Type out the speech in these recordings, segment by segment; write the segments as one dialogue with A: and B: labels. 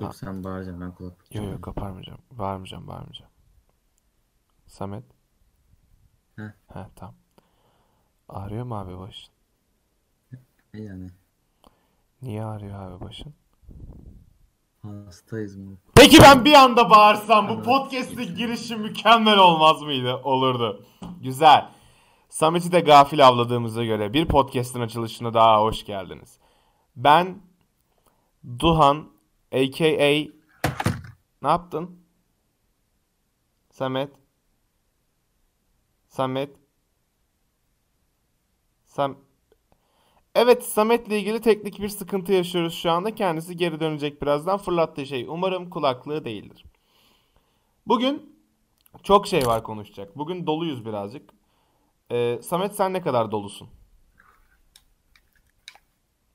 A: Yok sen bağıracaksın ben kulak
B: Yok
A: tutacağım.
B: yok kaparmayacağım. Bağırmayacağım bağırmayacağım. Samet.
A: Heh.
B: Heh tamam. Ağrıyor mu abi başın?
A: Ne yani?
B: Niye ağrıyor abi başın?
A: Hastayız mı?
B: Peki ben bir anda bağırsam bu
A: Evet.
B: podcast'in girişi mükemmel olmaz mıydı? Olurdu. Güzel. Samet'i de gafil avladığımıza göre bir podcast'in açılışına daha hoş geldiniz. Ben Duhan aka ne yaptın? Samet Samet Sam Evet Samet'le ilgili teknik bir sıkıntı yaşıyoruz şu anda. Kendisi geri dönecek birazdan. Fırlattığı şey umarım kulaklığı değildir. Bugün çok şey var konuşacak. Bugün doluyuz birazcık. Ee, Samet sen ne kadar dolusun?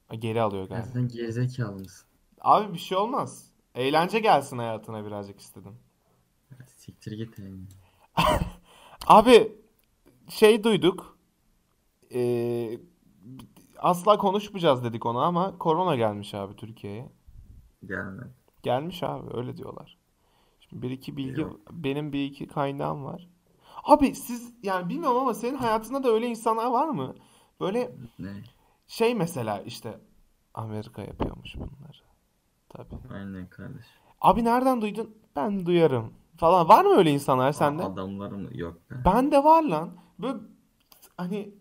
B: Ha, Geri alıyor
A: Ya
B: galiba.
A: sen gerizekalı mısın?
B: Abi bir şey olmaz. Eğlence gelsin hayatına birazcık istedim.
A: Siktir git yani.
B: Abi şey duyduk. Ee, asla konuşmayacağız dedik ona ama korona gelmiş abi Türkiye'ye.
A: Gelme.
B: Gelmiş abi öyle diyorlar. Şimdi bir iki bilgi
A: Yok.
B: benim bir iki kaynağım var. Abi siz yani bilmiyorum ama senin hayatında da öyle insanlar var mı? Böyle
A: Ne?
B: şey mesela işte Amerika yapıyormuş bunları. Tabii.
A: Aynen kardeş.
B: Abi nereden duydun? Ben duyarım falan. Var mı öyle insanlar sende?
A: Adamlar mı? Yok be.
B: Ben de var lan. Böyle hani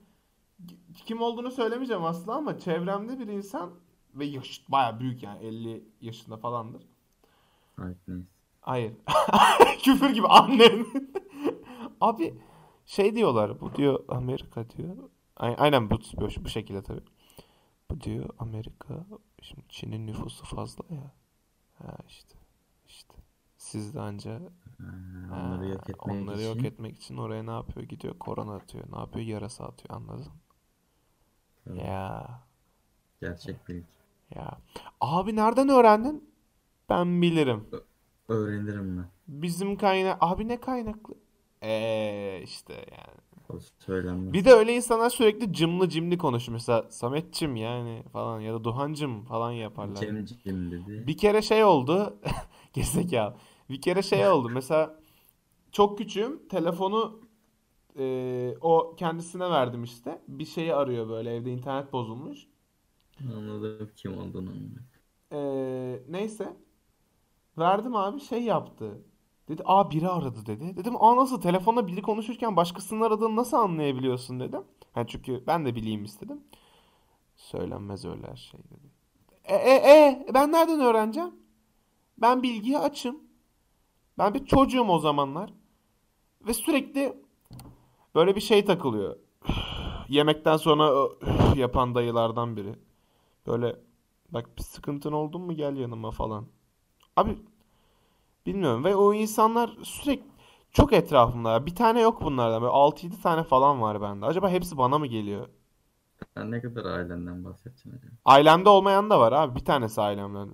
B: kim olduğunu söylemeyeceğim aslında ama çevremde bir insan ve yaş baya büyük yani 50 yaşında falandır.
A: Hayır neyse.
B: Hayır. Küfür gibi annem. Abi şey diyorlar bu diyor Amerika diyor. Ay- Aynen bu, bu, bu şekilde tabii. Bu diyor Amerika şimdi Çin'in nüfusu fazla ya. Ha işte. işte. Siz de anca
A: Ha, onları yok
B: Ha,
A: etmek
B: onları
A: için.
B: yok etmek için oraya ne yapıyor? Gidiyor korona atıyor. Ne yapıyor? Yarasa atıyor. Anladın? mı?
A: Evet.
B: Ya.
A: Gerçek bilgi.
B: Ya. Abi nereden öğrendin? Ben bilirim.
A: Öğrenirim ben.
B: Bizim kaynak... Abi ne kaynaklı? Eee işte yani.
A: O söylenmez.
B: Bir de öyle insanlar sürekli cımlı cimli konuşur. Mesela Sametçim yani falan ya da Duhancım falan yaparlar.
A: Cemcim dedi.
B: Bir kere şey oldu. Gerizekalı. Bir kere şey oldu. Mesela çok küçüğüm. Telefonu e, o kendisine verdim işte. Bir şeyi arıyor böyle evde internet bozulmuş.
A: Anladım kim olduğunu. anladım.
B: E, neyse. Verdim abi şey yaptı. Dedi a biri aradı dedi. Dedim a nasıl telefonla biri konuşurken başkasının aradığını nasıl anlayabiliyorsun dedim. Ha, çünkü ben de bileyim istedim. Söylenmez öyle her şey dedi. E, e, e ben nereden öğreneceğim? Ben bilgiye açım. Ben bir çocuğum o zamanlar. Ve sürekli böyle bir şey takılıyor. Yemekten sonra ö- yapan dayılardan biri. Böyle bak bir sıkıntın oldun mu gel yanıma falan. Abi bilmiyorum ve o insanlar sürekli çok etrafımda. ya. Bir tane yok bunlardan. Böyle 6-7 tane falan var bende. Acaba hepsi bana mı geliyor?
A: Ben ne kadar ailenden bahsedeceğim acaba?
B: Ailemde olmayan da var abi. Bir tanesi ailemden.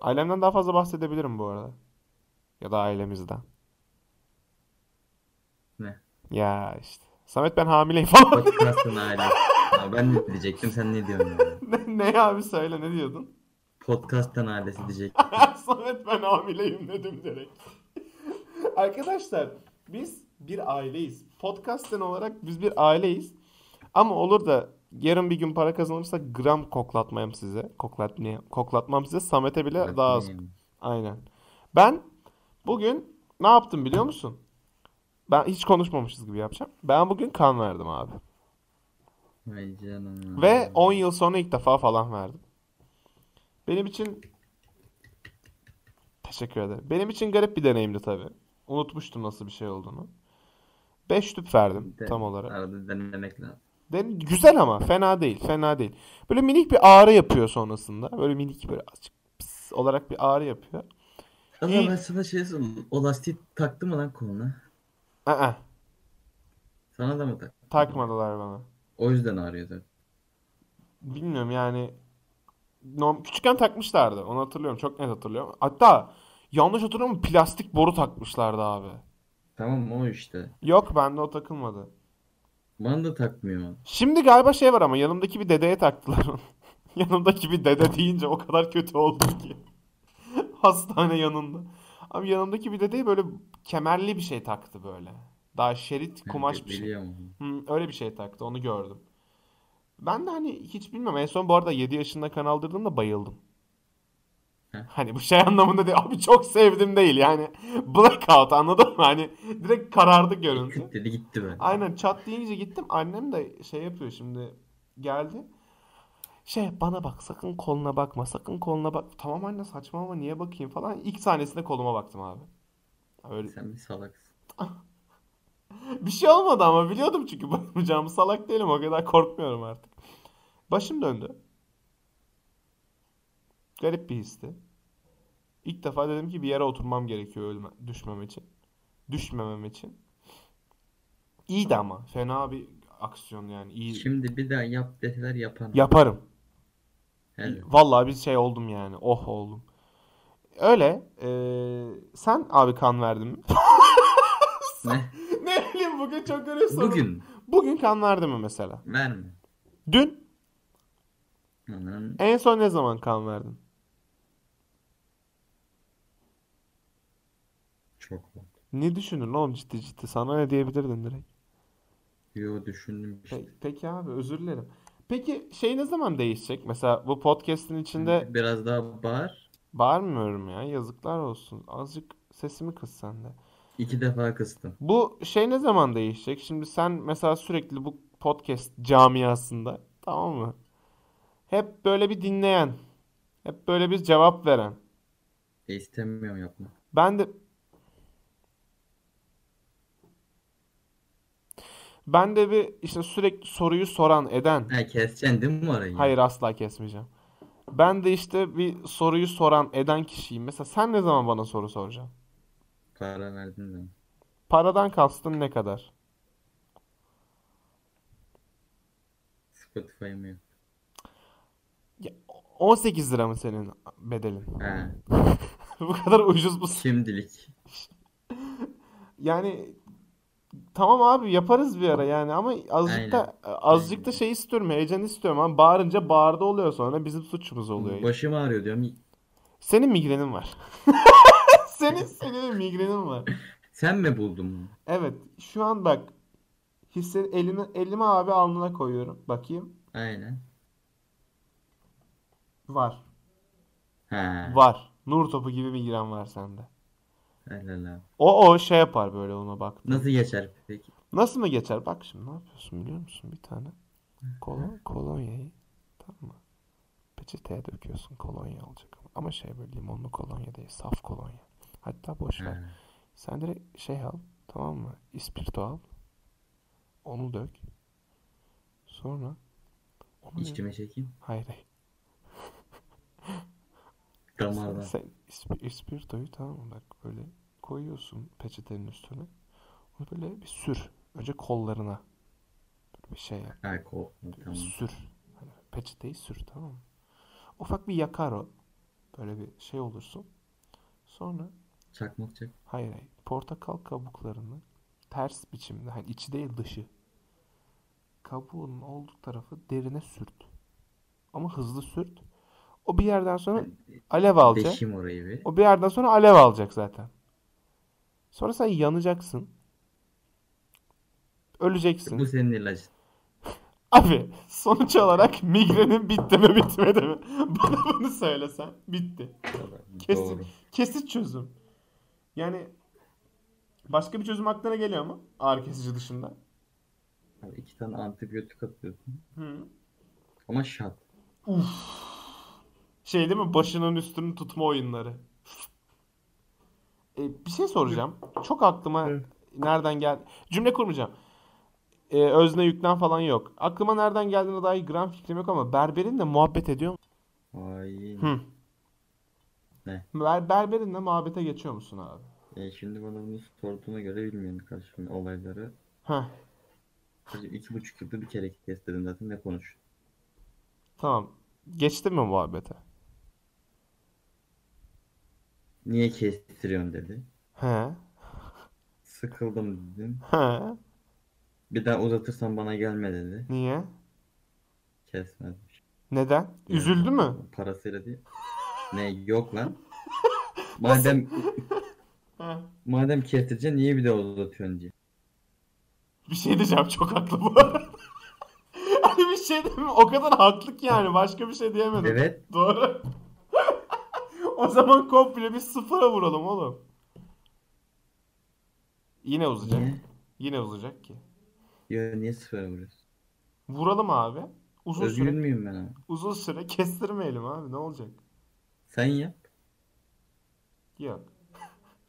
B: Ailemden daha fazla bahsedebilirim bu arada. Ya da ailemizden.
A: Ne?
B: Ya işte. Samet ben hamileyim falan.
A: Podcast'ın aile. Ya ben ne diyecektim sen ne diyorsun ya?
B: ne, ne abi söyle ne diyordun?
A: Podcast'ın ailesi diyecek.
B: Samet ben hamileyim dedim direkt. Arkadaşlar biz bir aileyiz. Podcast'ten olarak biz bir aileyiz. Ama olur da yarın bir gün para kazanırsa gram koklatmayayım size. Koklatmayayım. Koklatmam size. Samet'e bile daha az
A: Bakmayayım.
B: Aynen. Ben bugün ne yaptım biliyor musun? Ben hiç konuşmamışız gibi yapacağım. Ben bugün kan verdim abi.
A: Vay canına.
B: Ve 10 yıl sonra ilk defa falan verdim. Benim için teşekkür ederim. Benim için garip bir deneyimdi tabii. Unutmuştum nasıl bir şey olduğunu. 5 tüp verdim
A: De-
B: tam olarak.
A: Arada denemek lazım.
B: Den- Güzel ama fena değil, fena değil. Böyle minik bir ağrı yapıyor sonrasında. Böyle minik böyle azıcık pıs olarak bir ağrı yapıyor.
A: Ama
B: İyi.
A: ben sana şey sorayım. O lastiği taktı mı lan koluna?
B: Aa,
A: Sana da mı taktı?
B: takmadılar bana.
A: O yüzden ağrıyor zaten.
B: Bilmiyorum yani norm küçükken takmışlardı. Onu hatırlıyorum. Çok net hatırlıyorum. Hatta yanlış hatırlıyorum plastik boru takmışlardı abi.
A: Tamam o işte.
B: Yok bende o takılmadı.
A: Bana da takmıyor.
B: Şimdi galiba şey var ama yanımdaki bir dedeye taktılar onu. Yanımdaki bir dede deyince o kadar kötü oldum ki. Hastane yanında. Abi yanımdaki bir dedeye böyle kemerli bir şey taktı böyle. Daha şerit kumaş bir şey.
A: Biliyorum.
B: Hı, öyle bir şey taktı. Onu gördüm. Ben de hani hiç bilmem. En son bu arada 7 yaşında kan aldırdığımda bayıldım.
A: Heh.
B: Hani bu şey anlamında değil. Abi çok sevdim değil. Yani blackout anladın mı? Hani direkt karardı görüntü.
A: Küt dedi gitti be.
B: Aynen çat deyince gittim. Annem de şey yapıyor şimdi. Geldi. Şey bana bak sakın koluna bakma sakın koluna bak. Tamam anne saçmalama niye bakayım falan. İlk sahnesinde koluma baktım abi. Öyle.
A: Sen bir salaksın.
B: Bir şey olmadı ama biliyordum çünkü bakmayacağımı salak değilim o kadar korkmuyorum artık. Başım döndü. Garip bir histi. İlk defa dedim ki bir yere oturmam gerekiyor ölme, düşmem için. Düşmemem için. İyiydi ama. Fena bir aksiyon yani. iyi.
A: Şimdi bir daha yap deseler yapan.
B: Yaparım.
A: Helal.
B: Vallahi bir şey oldum yani. Oh oldum. Öyle. eee, sen abi kan verdin mi?
A: Ne?
B: Ne bileyim bugün çok garip soru.
A: Bugün
B: Bugün kan verdin mi mesela?
A: verme.
B: Dün
A: Anan
B: En son ne zaman kan verdin?
A: çok oldu.
B: Ne düşündün oğlum ciddi ciddi? Sana ne diyebilirdin direkt?
A: Yo düşündüm işte.
B: Pe- peki abi özür dilerim. Peki şey ne zaman değişecek? Mesela bu podcast'in içinde
A: Biraz daha bağır.
B: bağırmıyorum ya. Yazıklar olsun. Azıcık sesimi kıs sen de.
A: İki defa kıstım.
B: Bu şey ne zaman değişecek? Şimdi sen mesela sürekli bu podcast camiasında tamam mı? Hep böyle bir dinleyen, hep böyle bir cevap veren.
A: E, istemiyorum yapma.
B: Ben de Ben de bir işte sürekli soruyu soran, eden.
A: Ha keseceksin değil mi orayı?
B: Hayır asla kesmeyeceğim. Ben de işte bir soruyu soran, eden kişiyim. Mesela sen ne zaman bana soru soracaksın?
A: Para verdin de.
B: Paradan kastın ne kadar?
A: Spotify mı yok?
B: 18 lira mı senin bedelin?
A: Ha.
B: Bu kadar ucuz bu.
A: Şimdilik.
B: Yani tamam abi yaparız bir ara yani ama azıcık da azıcık da
A: Aynen.
B: şey istiyorum, heyecan istiyorum ama bağırınca bağırdı oluyor sonra bizim suçumuz oluyor.
A: Başım ağrıyor diyorum.
B: Senin migrenin var. Senin senin migrenin var.
A: Sen mi buldun bunu?
B: Evet, şu an bak hisse elimi elimi abi alnına koyuyorum. Bakayım.
A: Aynen.
B: Var.
A: Ha.
B: Var. Nur topu gibi migren var sende.
A: Helal abi.
B: O o şey yapar böyle ona bak.
A: Nasıl geçer peki?
B: Nasıl mı geçer? Bak şimdi ne yapıyorsun biliyor musun? Bir tane kolon kolonyayı tamam mı? Peçeteye döküyorsun kolonya olacak. Ama şey böyle limonlu kolonya değil, saf kolonya. Hatta boş ver.
A: Ha.
B: Sen direkt şey al, tamam mı? İspirto al. Onu dök. Sonra onu
A: İçkime çekeyim.
B: Hayır, hayır. Sen,
A: Damardan.
B: sen isp- ispirtoyu tamam mı? Bak böyle koyuyorsun peçetenin üstüne. Onu böyle bir sür. Önce kollarına. Böyle bir şey yap.
A: Ha kol.
B: Bir
A: Tamam.
B: sür. Hani peçeteyi sür tamam mı? Ufak bir yakar o. Böyle bir şey olursun. Sonra
A: Çakmak çak.
B: Hayır hayır. Portakal kabuklarını ters biçimde, hani içi değil dışı. Kabuğunun olduğu tarafı derine sürt. Ama hızlı sürt. O bir yerden sonra alev alacak.
A: Deşim orayı bir.
B: O bir yerden sonra alev alacak zaten. Sonra sen yanacaksın. Öleceksin.
A: Bu senin ilacın.
B: Abi sonuç olarak migrenin bitti mi bitmedi mi? Bana bunu söylesen. Bitti. Kesin.
A: Doğru.
B: Kesit çözüm. Yani başka bir çözüm aklına geliyor mu? Ağrı kesici dışında.
A: Abi iki tane antibiyotik atıyorsun.
B: Hı.
A: Ama şart.
B: Şey değil mi? Başının üstünü tutma oyunları. E, bir şey soracağım. Çok aklıma
A: Evet.
B: nereden geldi... Cümle kurmayacağım. E, özne yüklen falan yok. Aklıma nereden geldiğine dair gram fikrim yok ama berberinle muhabbet ediyor musun?
A: Ay.
B: Hı.
A: Ne?
B: Ber, berberinle muhabbete geçiyor musun abi?
A: E şimdi bana bunu sorduğuna göre bilmiyorum karşımda olayları.
B: Heh,
A: Sadece iki buçuk yılda bir kere kestirdim zaten ne konuş.
B: tamam. Geçtin mi muhabbete?
A: Niye kestiriyorsun dedi.
B: He.
A: Sıkıldım dedim.
B: He.
A: Bir daha uzatırsan bana gelme dedi.
B: Niye?
A: Kesmezmiş.
B: Neden? Üzüldü mü?
A: Parasıyla değil. Ne yok lan. Madem
B: Ha.
A: madem kestireceksin niye bir de uzatıyorsun diye.
B: Bir şey diyeceğim çok haklı bu arada. hani bir şey diyeyim o kadar haklı ki yani başka bir şey diyemedim.
A: Evet.
B: Doğru. o zaman komple bir sıfıra vuralım oğlum. Yine uzayacak.
A: Niye?
B: Yine uzayacak ki.
A: Yo, niye sıfıra vuruyorsun?
B: Vuralım abi. Uzun
A: Özgür
B: süre
A: müyüm ben ama?
B: uzun süre kestirmeyelim abi ne olacak?
A: Sen yap.
B: Yok.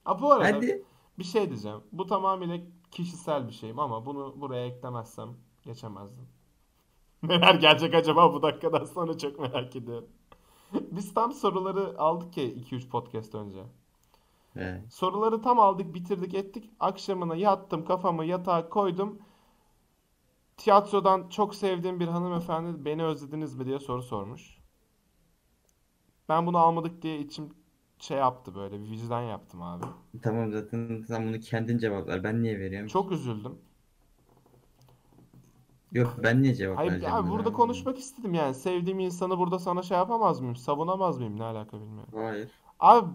B: Ha bu arada
A: Hadi.
B: bir şey diyeceğim. Bu tamamıyla kişisel bir şeyim ama bunu buraya eklemezsem geçemezdim. Neler gelecek acaba bu dakikadan sonra çok merak ediyorum. Biz tam soruları aldık ya 2-3 podcast önce.
A: He.
B: Soruları tam aldık, bitirdik, ettik. Akşamına yattım, kafamı yatağa koydum. Tiyatrodan çok sevdiğim bir hanımefendi beni özlediniz mi diye soru sormuş. Ben bunu almadık diye içim şey yaptı böyle bir vicdan yaptım abi.
A: Tamam zaten sen bunu kendin cevaplar. Ben niye veriyorum?
B: Çok üzüldüm.
A: Yok ben niye cevap
B: Hayır
A: vereceğim?
B: abi
A: bunu?
B: burada konuşmak istedim yani. Sevdiğim insanı burada sana şey yapamaz mıyım? Savunamaz mıyım? Ne alaka bilmiyorum.
A: Hayır.
B: Abi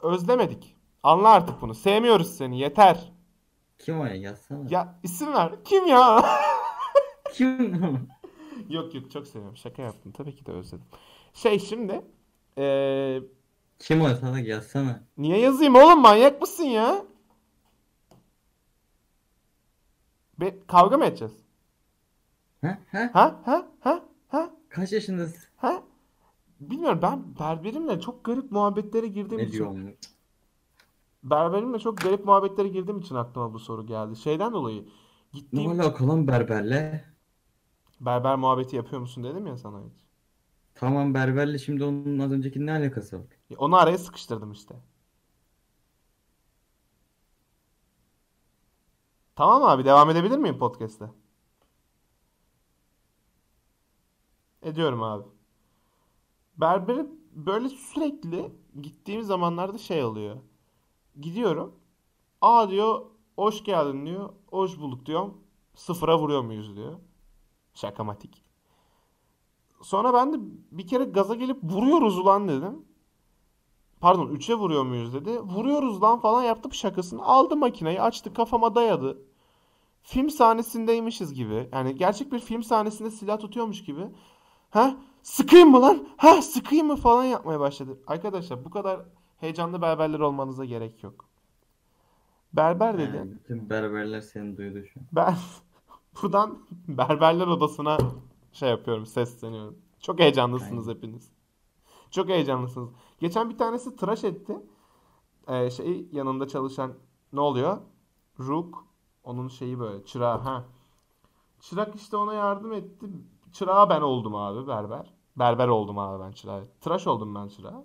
B: özlemedik. Anla artık bunu. Sevmiyoruz seni. Yeter.
A: Kim o ya? Yazsana.
B: Ya isim ver. Kim ya?
A: Kim o?
B: Yok yok çok seviyorum. Şaka yaptım. Tabii ki de özledim. Şey şimdi eee,
A: Kim o? Salak yazsana.
B: niye yazayım oğlum manyak mısın ya? Be kavga mı edeceğiz?
A: Ha? Ha?
B: Ha ha ha ha
A: Kaç yaşındasın?
B: ha? Bilmiyorum ben berberimle çok garip muhabbetlere girdiğim
A: Ne
B: için
A: diyor onu?
B: berberimle çok garip muhabbetlere girdiğim için aklıma bu soru geldi. Şeyden dolayı
A: Ne
B: gittiğim
A: alaka lan berberle?
B: berber muhabbeti yapıyor musun dedim ya sana hiç.
A: Tamam berberle şimdi onun az önceki ne alakası var?
B: Ya Onu araya sıkıştırdım işte. Tamam abi devam edebilir miyim podcast'te? Ediyorum abi. Berberi böyle sürekli gittiğim zamanlarda şey oluyor. Gidiyorum. Aa diyor hoş geldin diyor. Hoş bulduk diyorum. Sıfıra vuruyor muyuz diyor. Şakamatik. Sonra ben de bir kere gaza gelip vuruyoruz ulan dedim. Pardon 3'e vuruyor muyuz dedi. Vuruyoruz lan falan yaptım şakasını. Aldı makineyi açtı kafama dayadı. Film sahnesindeymişiz gibi. Yani gerçek bir film sahnesinde silah tutuyormuş gibi. Ha sıkayım mı lan? Ha sıkayım mı falan yapmaya başladı. Arkadaşlar bu kadar heyecanlı berberler olmanıza gerek yok. Berber dedi.
A: Yani bütün berberler seni duydu şu an.
B: Ben buradan berberler odasına şey yapıyorum, sesleniyorum. Çok heyecanlısınız hepiniz. Çok heyecanlısınız. Geçen bir tanesi tıraş etti. Ee, şey yanımda çalışan ne oluyor? Rook. Onun şeyi böyle çırağı. Ha. Çırak işte ona yardım etti. Çırağa ben oldum abi berber. Berber oldum abi ben çırağa. Tıraş oldum ben çırağa.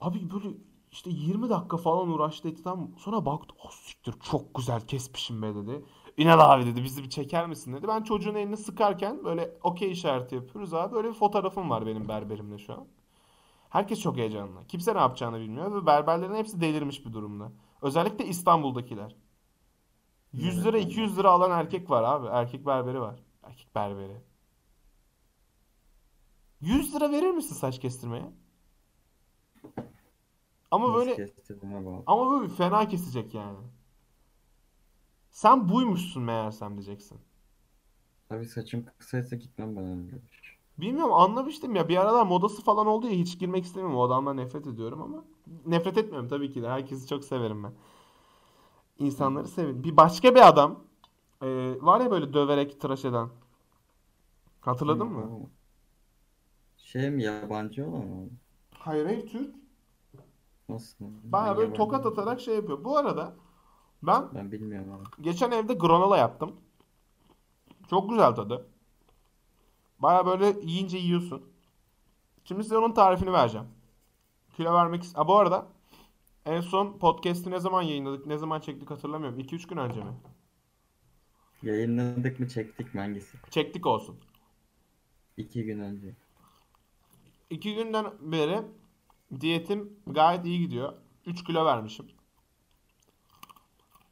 B: Abi böyle işte 20 dakika falan uğraştı etti tam. Sonra baktı. Oh siktir çok güzel kesmişim be dedi. İnal abi dedi bizi bir çeker misin dedi. Ben çocuğun elini sıkarken böyle okey işareti yapıyoruz abi. Böyle bir fotoğrafım var benim berberimle şu an. Herkes çok heyecanlı. Kimse ne yapacağını bilmiyor ve berberlerin hepsi delirmiş bir durumda. Özellikle İstanbul'dakiler. 100 lira
A: Evet,
B: 200 lira alan erkek var abi. Erkek berberi var. Erkek berberi. 100 lira verir misin saç kestirmeye? Ama
A: Nasıl
B: böyle
A: kesti buna bağlı.
B: ama böyle bir fena kesecek yani. Sen buymuşsun meğersem diyeceksin.
A: Abi saçım kısaysa gitmem bana ne demiş.
B: Bilmiyorum anlamıştım ya bir aralar modası falan oldu ya hiç girmek istemiyorum. O adamdan nefret ediyorum ama nefret etmiyorum tabii ki de. Herkesi çok severim ben. İnsanları sevin. Bir başka bir adam e, var ya böyle döverek tıraş eden. Hatırladın mı?
A: Ama- Şey mi yabancı olan mı?
B: Hayır hayır Türk.
A: Nasıl?
B: Baya
A: Ben
B: böyle tokat
A: yabancı-
B: atarak şey yapıyor. Bu arada ben
A: Ben bilmiyorum abi.
B: Geçen evde granola yaptım. Çok güzel tadı. Baya böyle yiyince yiyorsun. Şimdi size onun tarifini vereceğim. Kilo vermek... Ha bu arada en son podcast'i ne zaman yayınladık, ne zaman çektik hatırlamıyorum. 2-3 gün önce mi?
A: Yayınladık mı çektik mi hangisi?
B: Çektik olsun.
A: İki gün önce.
B: 2 günden beri diyetim gayet iyi gidiyor. 3 kilo vermişim.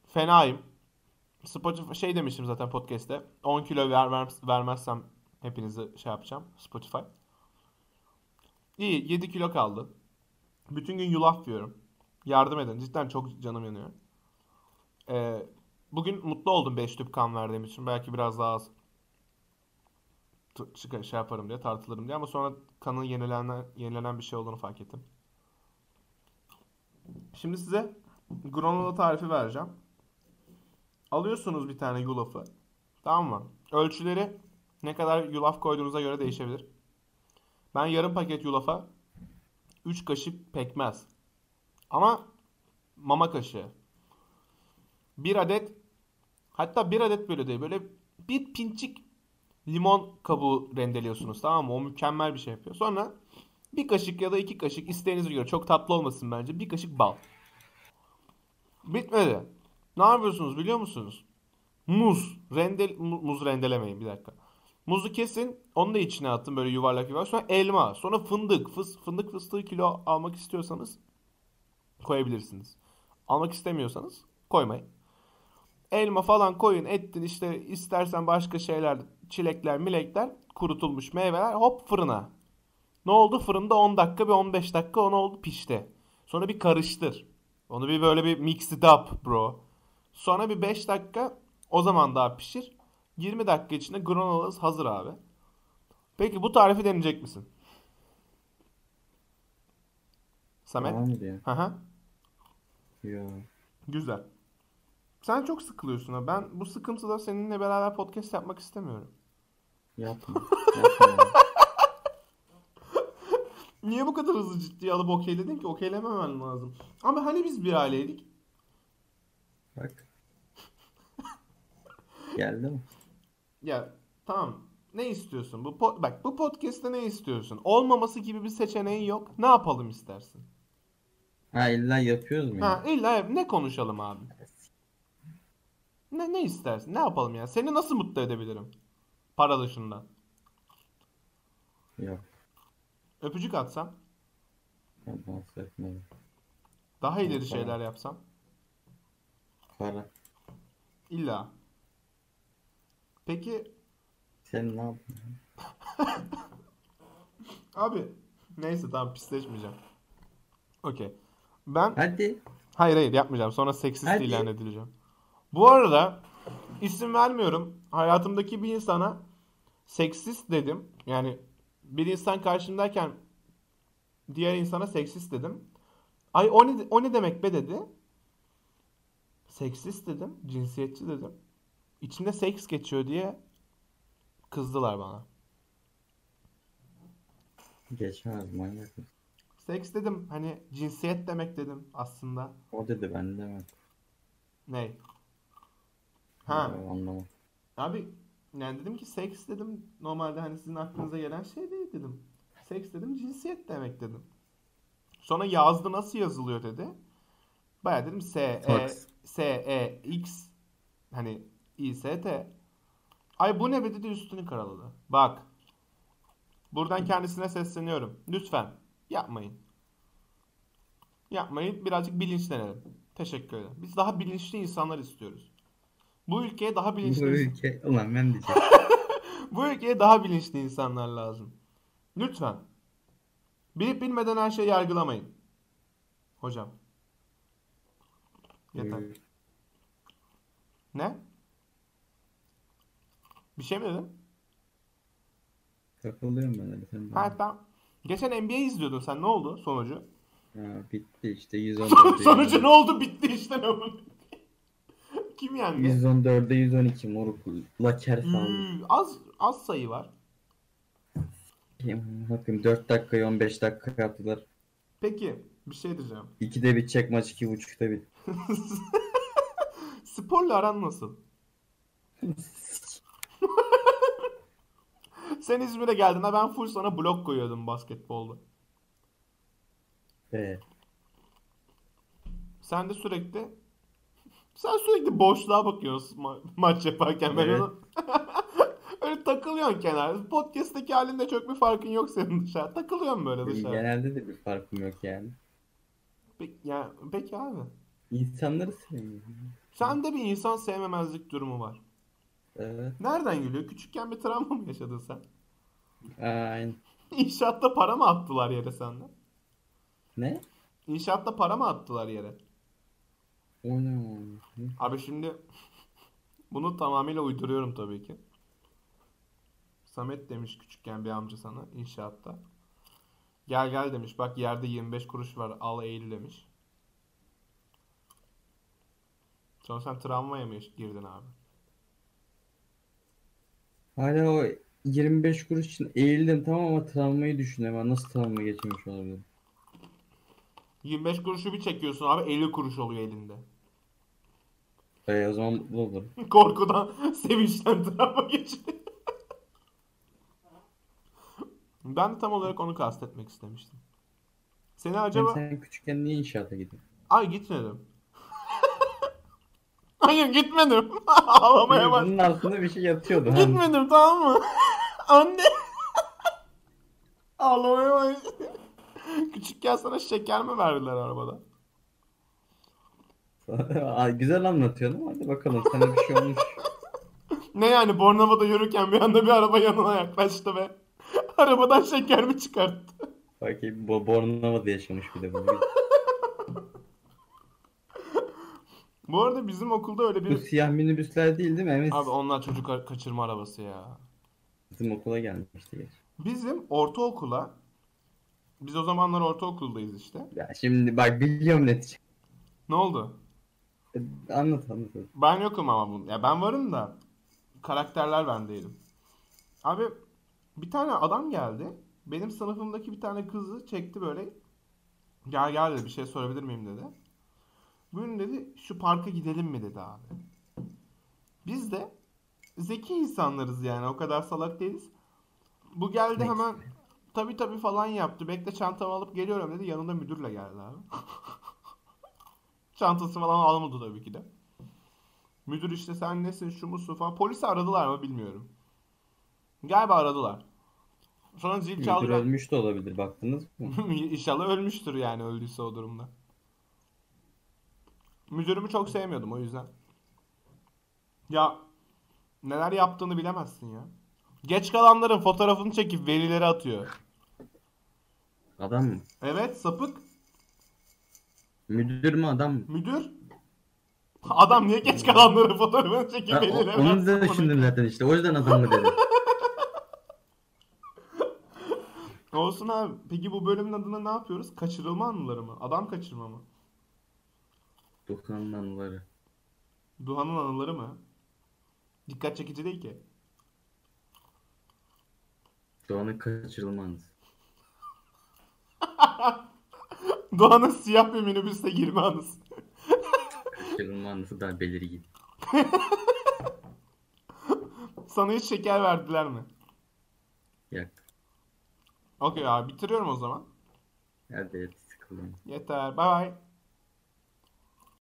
B: Fenayım. Spotify şey demiştim zaten podcast'te. 10 kilo ver, ver- vermezsem Hepinizi şey yapacağım. Spotify. İyi 7 kilo kaldı. Bütün gün yulaf yiyorum. Yardım edin. Cidden çok canım yanıyor. Ee, bugün mutlu oldum 5 tüp kan verdiğim için. Belki biraz daha az t- çıkar- şey yaparım diye tartılırım diye ama sonra kanın yenilenen, yenilenen bir şey olduğunu fark ettim. Şimdi size granola tarifi vereceğim. Alıyorsunuz bir tane yulafı. Tamam mı? Ölçüleri ne kadar yulaf koyduğunuza göre değişebilir. Ben yarım paket yulafa 3 kaşık pekmez. Ama mama kaşığı. Bir adet hatta bir adet böyle değil. Böyle bir pinçik limon kabuğu rendeliyorsunuz tamam mı? O mükemmel bir şey yapıyor. Sonra bir kaşık ya da iki kaşık isteğinize göre çok tatlı olmasın bence. Bir kaşık bal. Bitmedi. Ne yapıyorsunuz biliyor musunuz? Muz. Rendel, mu- muz rendelemeyin bir dakika. Muzu kesin. Onu da içine atın böyle yuvarlak yuvarlak. Sonra elma. Sonra fındık. Fıs, fındık fıstığı kilo almak istiyorsanız koyabilirsiniz. Almak istemiyorsanız koymayın. Elma falan koyun ettin işte istersen başka şeyler çilekler milekler kurutulmuş meyveler hop fırına. Ne oldu? Fırında 10 dakika bir 15 dakika onu oldu pişti. Sonra bir karıştır. Onu bir böyle bir mix it up bro. Sonra bir 5 dakika o zaman daha pişir. 20 dakika içinde granola hazır abi. Peki bu tarifi deneyecek misin? Samet?
A: Tamam mı diye.
B: Hı hı.
A: Yo.
B: Güzel. Sen çok sıkılıyorsun ha. Ben bu sıkıntıda seninle beraber podcast yapmak istemiyorum.
A: Yapma. Yapma. ya.
B: Niye bu kadar hızlı ciddiye alıp okeyledin ki? Okeylememen lazım. Ama hani biz bir aileydik?
A: Bak. Geldi mi?
B: Ya tamam. Ne istiyorsun? Bu po- bak bu podcast'te ne istiyorsun? Olmaması gibi bir seçeneğin yok. Ne yapalım istersin?
A: Ha illa yapıyoruz mu?
B: Ha
A: ya?
B: illa ne konuşalım abi? Ne ne istersin? Ne yapalım ya? Seni nasıl mutlu edebilirim? Para dışında.
A: Yok.
B: Öpücük atsam,
A: Yapmaz. Yapmaz.
B: daha ileri
A: Yok, tamam.
B: şeyler yapsam.
A: Para.
B: İlla. Peki
A: Sen ne yaptın?
B: Abi neyse tamam pisleşmeyeceğim. Okey. Ben
A: Hadi.
B: hayır hayır yapmayacağım. Sonra seksist
A: Hadi.
B: ilan edileceğim. Bu arada isim vermiyorum. Hayatımdaki bir insana seksist dedim. Yani bir insan karşımdayken diğer insana seksist dedim. Ay o ne, o ne demek be dedi. Seksist dedim. Cinsiyetçi dedim. İçimde seks geçiyor diye kızdılar bana.
A: Geçmez manyak. mısın?
B: Seks dedim. Hani cinsiyet demek dedim aslında.
A: O dedi ben demem.
B: Ney? Ha.
A: Ya, Anlamam.
B: Abi yani dedim ki seks dedim. Normalde hani sizin aklınıza gelen şey değil dedim. Seks dedim cinsiyet demek dedim. Sonra yazdı nasıl yazılıyor dedi. Baya dedim S E
A: Fax.
B: S E X hani İ S T. Ay bu ne be dedi üstünü karaladı. Bak. Buradan kendisine sesleniyorum. Lütfen yapmayın. Yapmayın. Birazcık bilinçlenelim. Teşekkür ederim. Biz daha bilinçli insanlar istiyoruz. Bu ülkeye daha
A: Bu
B: bilinçli
A: ülke. Ulan ben diyeceğim.
B: bu ülkeye daha bilinçli insanlar lazım. Lütfen. Bilip bilmeden her şeyi yargılamayın. Hocam. Yeter.
A: Buyur.
B: Ne? Bir şey mi dedin?
A: Takılıyorum ben öyle. Sen de-
B: Ha tamam. Geçen NBA izliyordun sen. Ne oldu sonucu?
A: Ha, bitti işte 114.
B: sonucu ne oldu? Bitti işte ne oldu? Kim yendi?
A: 114'e 112 moruk. Laker
B: Hmm.
A: sandım.
B: Üü, az az sayı var.
A: Bakayım 4 dakikayı 15 dakika yaptılar.
B: Peki bir şey diyeceğim.
A: 2'de bitecek maç 2.5'da bit.
B: Sporla aran nasıl? Sen İzmir'e geldiğinde ben full sana blok koyuyordum basketbolda.
A: Ee,
B: Sen de sürekli sen sürekli boşluğa bakıyorsun ma- maç yaparken. Ben
A: Evet.
B: onu öyle takılıyorsun kenarda. Podcast'teki halinde çok bir farkın yok senin dışarı. Takılıyorsun böyle dışarı.
A: genelde de bir farkım yok yani.
B: Peki, ya, peki abi.
A: İnsanları sevmiyorum.
B: Sende bir insan sevmemezlik durumu var.
A: Evet.
B: Nereden geliyor? Küçükken bir travma mı yaşadın sen?
A: Aynen.
B: İnşaatta para mı attılar yere senden?
A: Ne?
B: İnşaatta para mı attılar yere?
A: O ne oğlum?
B: Abi şimdi bunu tamamıyla uyduruyorum tabii ki. Samet demiş küçükken bir amca sana inşaatta. Gel gel demiş bak yerde 25 kuruş var al eğil demiş. Sonra sen travmaya mı girdin abi?
A: Hala o 25 kuruş için eğildim tamam ama travmayı düşünüyorum. Ben nasıl travma geçirmiş olabilirim?
B: 25 kuruşu bir çekiyorsun abi 50 kuruş oluyor elinde.
A: E, o zaman mutlu olurum.
B: Korkudan, sevinçten travma geçiriyor. Ben de tam olarak onu kastetmek istemiştim. Seni
A: Acaba...
B: acaba...
A: Sen küçükken niye inşaata gittin?
B: Ay gitmedim. Hayır gitmedim. Ağlamaya bak.
A: Bunun altında bir şey yatıyordu. Hani
B: Gitmedim tamam mı? Anne. Ağlamaya bak. Küçükken sana şeker mi verdiler arabada?
A: Aa, Güzel anlatıyorsun ama hadi bakalım sana bir şey olmuş.
B: Ne yani Bornova'da yürürken bir anda bir araba yanına yaklaştı ve arabadan şeker mi çıkarttı?
A: Bakayım Bo Bornova'da yaşamış bir de bu.
B: Bu arada bizim okulda öyle
A: Bu
B: bir...
A: siyah minibüsler değil değil mi? Evet.
B: Abi onlar çocuk ar- kaçırma arabası ya.
A: Bizim okula gelmişti. geç.
B: Bizim ortaokula biz o zamanlar ortaokuldayız işte.
A: Ya şimdi bak biliyorum netice.
B: Ne oldu?
A: Anlat anlat. anlat.
B: Ben yokum ama bu. Ya ben varım da karakterler ben değilim. Abi bir tane adam geldi. Benim sınıfımdaki bir tane kızı çekti böyle. Gel gel dedi bir şey sorabilir miyim dedi. Bugün dedi şu parka gidelim mi dedi abi. Biz de zeki insanlarız yani o kadar salak değiliz. Bu geldi
A: Neyse.
B: hemen tabi tabi falan yaptı. Bekle çantamı alıp geliyorum dedi. Yanında müdürle geldi abi. Çantası falan almadı tabii ki de. Müdür işte sen nesin şu musun falan. Polisi aradılar mı bilmiyorum. Galiba aradılar. Sonra zil
A: Müdür
B: çaldı. Ben-
A: ölmüş de olabilir baktınız mı?
B: İnşallah ölmüştür yani öldüyse o durumda. Müdürümü çok sevmiyordum o yüzden. Ya neler yaptığını bilemezsin ya. Geç kalanların fotoğrafını çekip velileri atıyor.
A: Adam mı?
B: Evet sapık.
A: Müdür mü adam mı?
B: Müdür. Adam niye geç kalanların fotoğrafını çekip
A: Ha, o-
B: velilere
A: onu da
B: atıyor?
A: düşündüm zaten işte. O yüzden adam mı dedim.
B: Olsun abi. Peki bu bölümün adına ne yapıyoruz? Kaçırılma anıları mı? Adam kaçırma mı?
A: Dokunanın anıları.
B: Duhan'ın anıları mı? Dikkat çekici değil ki.
A: Doğanın kaçırılma anısı.
B: Doğan'ın siyah bir minibüste girme anısı.
A: Kaçırılma anısı daha belirgin.
B: Sana hiç şeker verdiler mi?
A: Yak.
B: Okey abi bitiriyorum o zaman.
A: Hadi et sıkıldım.
B: Yeter. Bay bay.